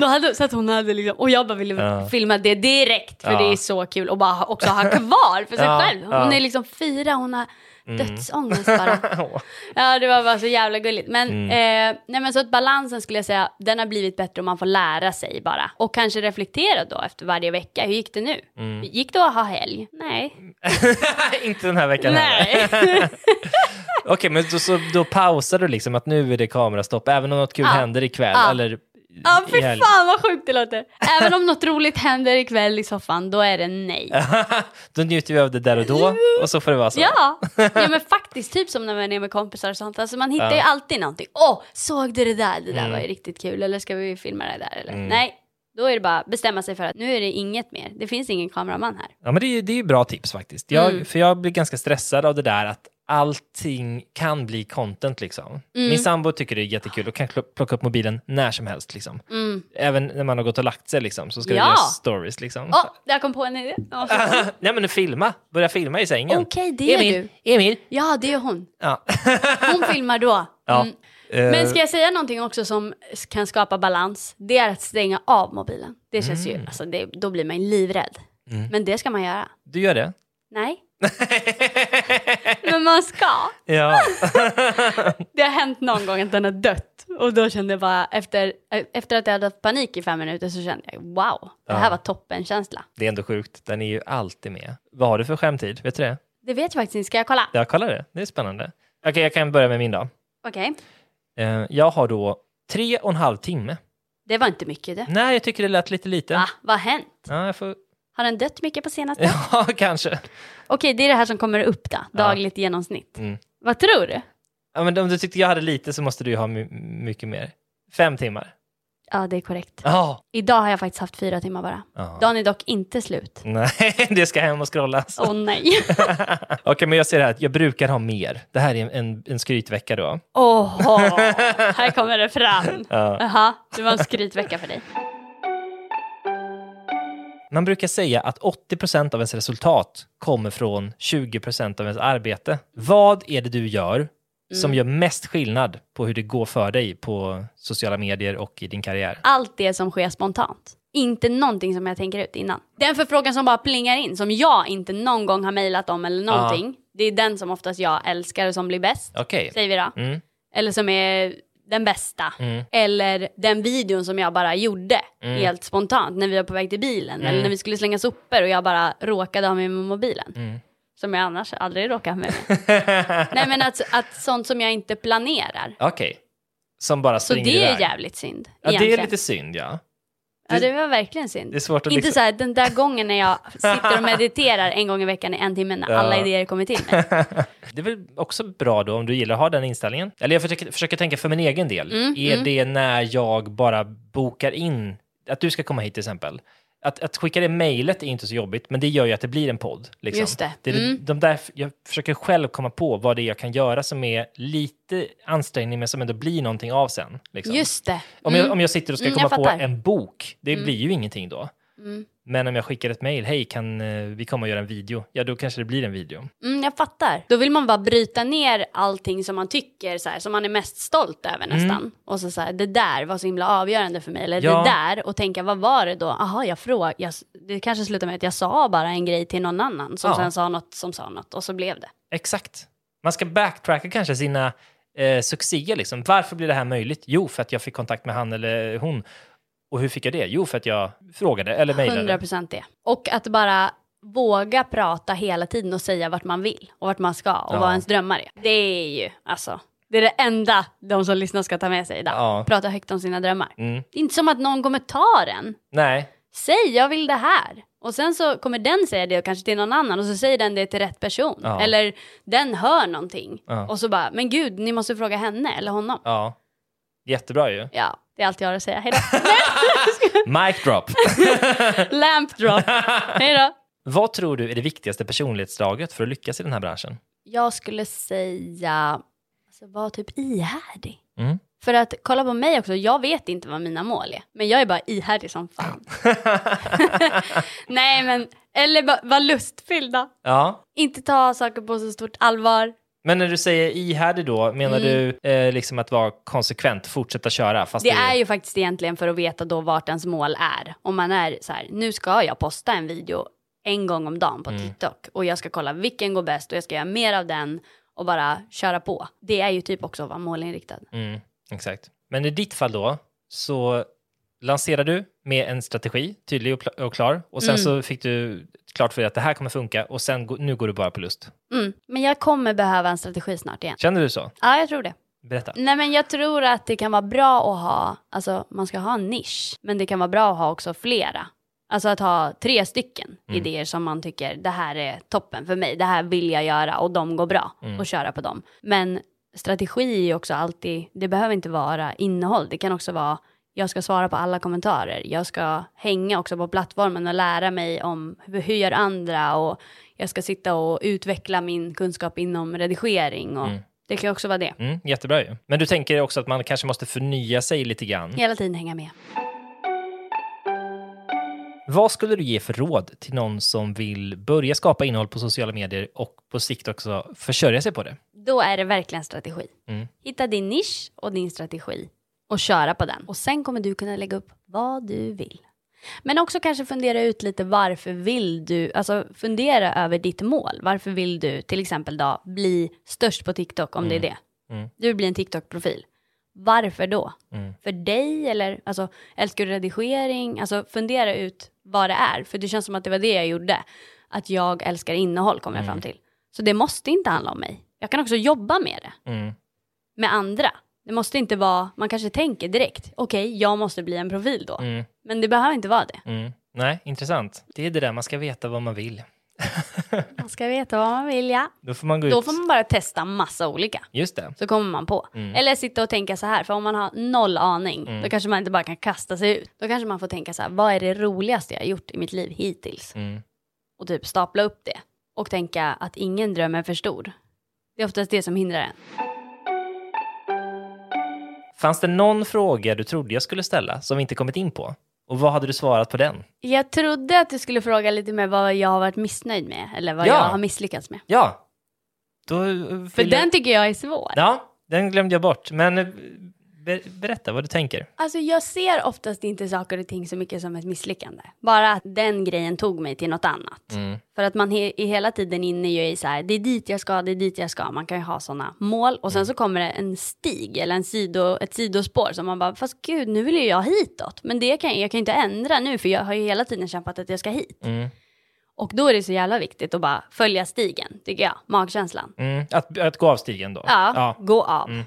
S2: Då hade, så att hon hade liksom, och jag bara ville
S1: Ja.
S2: filma det direkt för
S1: Ja.
S2: det är så kul och bara ha- också ha kvar för sig
S1: Ja,
S2: själv. Hon
S1: ja. Mm.
S2: är liksom fyra, hon har dödsångest bara. Ja, det var bara så jävla gulligt. Men,
S1: Mm.
S2: eh, nej, men så att balansen skulle jag säga, den har blivit bättre om man får lära sig bara. Och kanske reflektera då efter varje vecka, hur gick det nu?
S1: Mm.
S2: Gick det att ha helg? Nej.
S1: inte den här veckan heller.
S2: Nej.
S1: Okej, men då, så, då pausar du liksom att nu är det kamerastopp, även om något kul
S2: Ja.
S1: händer ikväll
S2: Ja.
S1: eller
S2: Ja, fy
S1: i helg.
S2: fan vad sjukt det låter. Även om något roligt händer ikväll i soffan, då är det nej.
S1: Då njuter vi av det där och då och så får det vara så.
S2: Ja, ja men faktiskt typ som när man är med kompisar och sånt. Alltså man hittar ju alltid någonting. Åh, såg du det där? Det där
S1: Mm.
S2: var ju riktigt kul. Eller ska vi filma det där? Eller? Nej, då är det bara bestämma sig för att nu är det inget mer. Det finns ingen kameraman här.
S1: Ja, men det är ju det är ju bra tips faktiskt. Jag,
S2: Mm.
S1: För jag blir ganska stressad av det där att allting kan bli content liksom.
S2: Mm.
S1: Min sambo tycker det är jättekul och kan klo- plocka upp mobilen när som helst liksom. Även när man har gått och lagt sig liksom så ska
S2: Mm. Ja.
S1: det göras stories liksom.
S2: Åh, jag kom på en idé. Ja, för-
S1: Nej men filma, börja filma i sängen.
S2: Okej, det är
S1: Emil, Emil.
S2: ja, det är hon.
S1: Ja.
S2: Hon filmar då.
S1: Ja.
S2: Mm. Men
S1: Eh,
S2: ska jag säga någonting också som s- kan skapa balans? Det är att stänga av mobilen. Det känns
S1: Mm.
S2: ju, alltså det, då blir man ju livrädd. Men det ska man göra.
S1: Du gör det?
S2: Nej. Men man ska.
S1: Ja.
S2: Det har hänt någon gång att den har dött. Och då kände jag bara, efter, eh, efter att jag hade haft panik i fem minuter så kände jag wow, det här var toppenkänsla.
S1: Det är ändå sjukt, den är ju alltid med. Vad har du för skärmtid? Vet du det?
S2: Det vet jag faktiskt inte, ska jag kolla?
S1: Jag kollar det, det är spännande. Okej, jag kan börja med min då.
S2: Okej,
S1: Eh, Jag har då tre och en halv timme.
S2: det var inte mycket det.
S1: Nej, jag tycker det lät lite lite.
S2: Va, vad har hänt?
S1: Ja, jag får...
S2: Har den dött mycket på senaste?
S1: ja kanske.
S2: Okej, det är det här som kommer upp då, dagligt genomsnitt.
S1: Mm.
S2: Vad tror du?
S1: Ja, men om du tyckte jag hade lite så måste du ju ha my- mycket mer. Fem timmar.
S2: Ja, det är korrekt.
S1: Ja.
S2: Idag har jag faktiskt haft fyra timmar bara.
S1: Ja.
S2: Dagen är dock inte slut.
S1: Nej, det ska hem och scrollas.
S2: Åh nej.
S1: Okej, men jag ser här att jag brukar ha mer. Det här är en, en, en skrytvecka då.
S2: Åh, här kommer det fram. Jaha, det var en skrytvecka för dig.
S1: Man brukar säga att 80 av ens resultat kommer från 20 av ens arbete. Vad är det du gör
S2: Mm.
S1: som gör mest skillnad på hur det går för dig på sociala medier och i din karriär?
S2: allt det som sker spontant. Inte någonting som jag tänker ut innan. Den förfrågan som bara plingar in, som jag inte någon gång har mejlat om
S1: Ah.
S2: eller någonting. Det är den som oftast jag älskar och som blir bäst.
S1: Okej.
S2: Säger vi då.
S1: Mm.
S2: Eller som är den bästa. Eller den videon som jag bara gjorde
S1: Mm.
S2: helt spontant när vi var på väg till bilen. Eller när vi skulle slänga sopor och jag bara råkade ha med mig mobilen.
S1: Mm.
S2: Som jag annars aldrig råkar ha med mig. Nej men att, att sånt som jag inte planerar.
S1: Okej. Som bara
S2: Så
S1: springer
S2: det är
S1: iväg.
S2: jävligt synd.
S1: Ja, det är
S2: egentligen.
S1: lite synd, ja.
S2: Ja, det var verkligen synd.
S1: Det är svårt att
S2: Inte
S1: liksom-
S2: så här, den där gången när jag sitter och mediterar en gång i veckan i en timme när alla idéer kommer till mig.
S1: Det är väl också bra då om du gillar att ha den inställningen. Eller jag försöker, försöker tänka för min egen del.
S2: Mm,
S1: är det när jag bara bokar in att du ska komma hit till exempel? Att, att skicka det mejlet är inte så jobbigt, men det gör ju att det blir en podd. Liksom.
S2: Just det. Mm.
S1: är de där, jag försöker själv komma på vad det är jag kan göra som är lite ansträngning, men som ändå blir någonting av sen. Liksom.
S2: Just det.
S1: Om, jag, om jag sitter och ska
S2: Mm, jag
S1: komma på
S2: fattar. Mm.
S1: en bok, det blir ju ingenting då. Men om jag skickar ett mejl, hej, kan eh, vi komma och göra en video? Ja, då kanske det blir en video.
S2: Mm, jag fattar. Då vill man bara bryta ner allting som man tycker, så här, som man är mest stolt över
S1: Mm.
S2: nästan. Och så, så här, det där var så himla avgörande för mig, eller
S1: Ja.
S2: det där, och tänka vad var det då? Jaha, jag frågade, jag, det kanske slutar med att jag sa bara en grej till någon annan som
S1: Ja.
S2: sen sa något som sa något, och så blev det.
S1: Exakt. Man ska backtracka kanske sina eh, succéer. Liksom. Varför blir det här möjligt? Jo, för att jag fick kontakt med han eller hon. Och hur fick jag det? Jo, för att jag frågade eller mejlade.
S2: 100% det. Och att bara våga prata hela tiden och säga vart man vill och vart man ska och
S1: Ja.
S2: vad ens drömmar är. Det är ju alltså, det är det enda de som lyssnar ska ta med sig idag.
S1: Ja.
S2: Prata högt om sina drömmar.
S1: Mm.
S2: Det är inte som att någon kommer ta den.
S1: Nej,
S2: Säg jag vill det här. Och sen så kommer den säga det kanske till någon annan och så säger den det till rätt person.
S1: Ja.
S2: Eller den hör någonting.
S1: Ja.
S2: Och så bara, men gud, ni måste fråga henne eller honom. Ja,
S1: ja. Jättebra ju.
S2: det är allt jag har att säga. Hejdå.
S1: Mic drop.
S2: Lamp drop. Hejdå.
S1: Vad tror du är det viktigaste personlighetsdraget för att lyckas i den här branschen?
S2: Jag skulle säga, alltså, var typ ihärdig.
S1: Mm.
S2: För att kolla på mig också, jag vet inte vad mina mål är. Men jag är bara ihärdig som fan. Nej men, eller bara vara lustfyllda.
S1: Ja,
S2: Inte ta saker på så stort allvar.
S1: Men när du säger ihärdig då, menar du eh, liksom att vara konsekvent, fortsätta köra? Fast
S2: Mm. Det är ju faktiskt egentligen för att veta då vart ens mål är. Om man är så här, nu ska jag posta en video en gång om dagen på TikTok och jag ska kolla vilken går bäst och jag ska göra mer av den och bara köra på. Det är ju typ också att vara målinriktad.
S1: Mm, exakt. Men i ditt fall då, så lanserar du med en strategi, tydlig och pla- och klar, och sen
S2: Mm.
S1: så fick du klart för dig att det här kommer funka, och sen gå- nu går du bara på lust.
S2: Mm. Men jag kommer behöva en strategi snart igen.
S1: Känner du så?
S2: Ja, jag tror det.
S1: Berätta.
S2: Nej men jag tror att det kan vara bra att ha, alltså man ska ha en nisch, men det kan vara bra att ha också flera. Alltså att ha tre stycken
S1: Mm.
S2: idéer som man tycker det här är toppen för mig, det här vill jag göra och de går bra
S1: Mm.
S2: och köra på dem. Men strategi är ju också alltid, det behöver inte vara innehåll, det kan också vara jag ska svara på alla kommentarer, jag ska hänga också på plattformen och lära mig om hur hur gör andra och jag ska sitta och utveckla min kunskap inom redigering och
S1: Mm.
S2: det kan ju också vara det.
S1: Mm, jättebra ju. Men du tänker också att man kanske måste förnya sig lite grann.
S2: Hela tiden hänga med.
S1: Vad skulle du ge för råd till någon som vill börja skapa innehåll på sociala medier och på sikt också försörja sig på det?
S2: Då är det verkligen strategi.
S1: Mm.
S2: Hitta din nisch och din strategi och köra på den. Och sen kommer du kunna lägga upp vad du vill. Men också kanske fundera ut lite varför vill du, alltså fundera över ditt mål. Varför vill du till exempel då bli störst på TikTok om det är det?
S1: Mm.
S2: Du blir en TikTok-profil. Varför då?
S1: Mm.
S2: För dig eller alltså älskar du redigering? Alltså fundera ut vad det är. För det känns som att det var det jag gjorde. Att jag älskar innehåll kom jag
S1: Mm.
S2: fram till. Så det måste inte handla om mig. Jag kan också jobba med det
S1: Mm.
S2: med andra. Det måste inte vara, man kanske tänker direkt, okej, jag måste bli en profil då.
S1: Mm.
S2: Men det behöver inte vara det.
S1: Mm. Nej, intressant. Det är det där, man ska veta vad man vill.
S2: Man ska veta vad man vill, ja.
S1: Då får man gå
S2: Då
S1: ut.
S2: får man bara testa massa olika,
S1: Just det.
S2: så kommer man på.
S1: Mm.
S2: Eller sitta och tänka så här, för om man har noll aning,
S1: Mm.
S2: då kanske man inte bara kan kasta sig ut. Då kanske man får tänka så här, vad är det roligaste jag har gjort i mitt liv hittills?
S1: Mm.
S2: Och typ stapla upp det. Och tänka att ingen dröm är för stor. Det är oftast det som hindrar en.
S1: Fanns det någon fråga du trodde jag skulle ställa som vi inte kommit in på? Och vad hade du svarat på den?
S2: Jag trodde att du skulle fråga lite mer vad jag har varit missnöjd med, eller vad
S1: Ja.
S2: jag har misslyckats med.
S1: Ja, då... eh,
S2: För den tycker jag är svår.
S1: Ja, den glömde jag bort. Men eh, be- berätta vad du tänker.
S2: Alltså jag ser oftast inte saker och ting så mycket som ett misslyckande. Bara att den grejen tog mig till något annat. För att man he- är hela tiden inne ju i så här, det är dit jag ska, det är dit jag ska. Man kan ju ha sådana mål och sen så kommer det en stig eller en sido, ett sidospår som man bara, fast gud nu vill ju jag hitåt. Men det kan jag kan ju inte ändra nu för jag har ju hela tiden kämpat att jag ska hit.
S1: Mm.
S2: Och då är det så jävla viktigt att bara följa stigen, tycker jag. Magkänslan.
S1: Mm. Att, att gå av stigen då?
S2: Ja, gå av.
S1: Mm.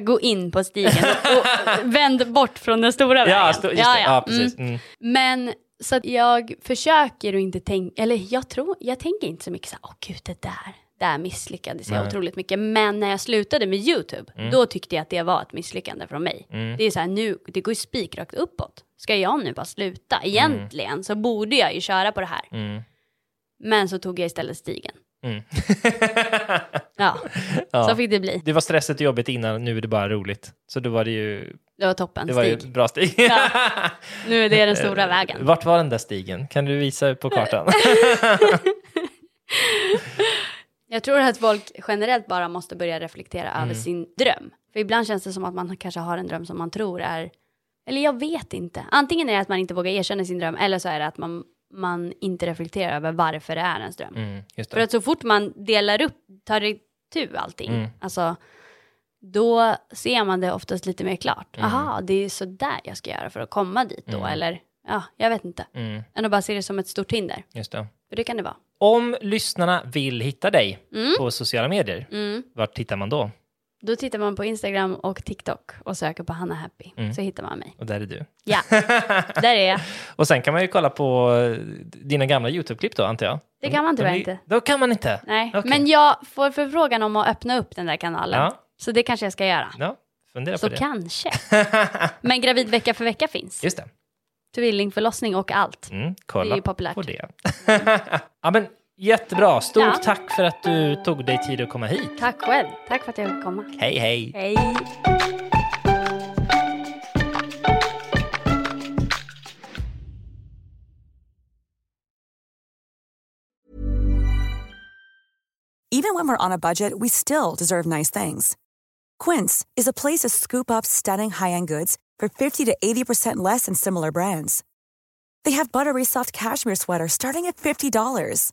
S2: Gå in på stigen och, och vänd bort från den stora vägen.
S1: Ja, sto- just det. Ja, precis.
S2: Mm.
S1: Mm.
S2: Men så att jag försöker att inte tänka, eller jag tror, jag tänker inte så mycket så här, åh gud det där, där misslyckades jag
S1: Nej. Mm.
S2: otroligt mycket. Men när jag slutade med YouTube, då tyckte jag att det var ett misslyckande från mig. Det är så här, nu, det går ju spikrakt uppåt. Ska jag nu bara sluta? Egentligen så borde jag ju köra på det här.
S1: Mm.
S2: Men så tog jag istället stigen.
S1: Mm.
S2: Ja,
S1: Ja.
S2: så fick det bli.
S1: Det var stressigt och jobbigt innan, nu är det bara roligt. Så då var det ju,
S2: Det var toppen
S1: det var ju
S2: stig.
S1: bra steg.
S2: Nu är det den stora vägen.
S1: Vart var den där stigen? Kan du visa på kartan?
S2: Mm. Jag tror att folk generellt bara måste börja reflektera
S1: Mm.
S2: över sin dröm. För ibland känns det som att man kanske har en dröm som man tror är... Eller jag vet inte. Antingen är det att man inte vågar erkänna sin dröm eller så är det att man, man inte reflekterar över varför det är ens dröm.
S1: Mm, just
S2: För
S1: det.
S2: att så fort man delar upp, tar itu allting,
S1: Mm.
S2: alltså, då ser man det oftast lite mer klart.
S1: Mm.
S2: Aha, det är så där jag ska göra för att komma dit då, eller ja, jag vet inte.
S1: Mm,
S2: Än att bara se det som ett stort hinder,
S1: just det.
S2: för det kan det vara.
S1: Om lyssnarna vill hitta dig
S2: Mm.
S1: på sociala medier,
S2: Mm.
S1: vart tittar man då?
S2: Då tittar man på Instagram och TikTok och söker på Hanna Happy,
S1: Mm.
S2: så hittar man mig.
S1: Och där är du.
S2: Ja, där är jag.
S1: och sen kan man ju kolla på eh, dina gamla YouTube-klipp då, antar jag?
S2: Det kan man
S1: De-
S2: tyvärr
S1: de är-
S2: inte.
S1: Då kan man inte?
S2: Nej.
S1: Mm. Okej.
S2: Men jag får förfrågan om att öppna upp den där kanalen,
S1: Ja.
S2: så det kanske jag ska göra.
S1: Ja, fundera
S2: Så
S1: på det.
S2: kanske. Men Gravid vecka för vecka finns.
S1: Just det.
S2: Tvillingförlossning och allt.
S1: Mm, kolla
S2: Det är ju populärt.
S1: på det. ja, men, jättebra. Stort
S2: Ja.
S1: tack för att du tog dig tid att komma hit.
S2: Tack själv. Tack för att jag fick komma.
S1: Hej, hej.
S2: Hej.
S6: Even when we're on a budget, we still deserve nice things. Quince is a place to scoop up stunning high end goods for 50 to 80% less than similar brands. They have buttery soft cashmere sweaters starting at $50,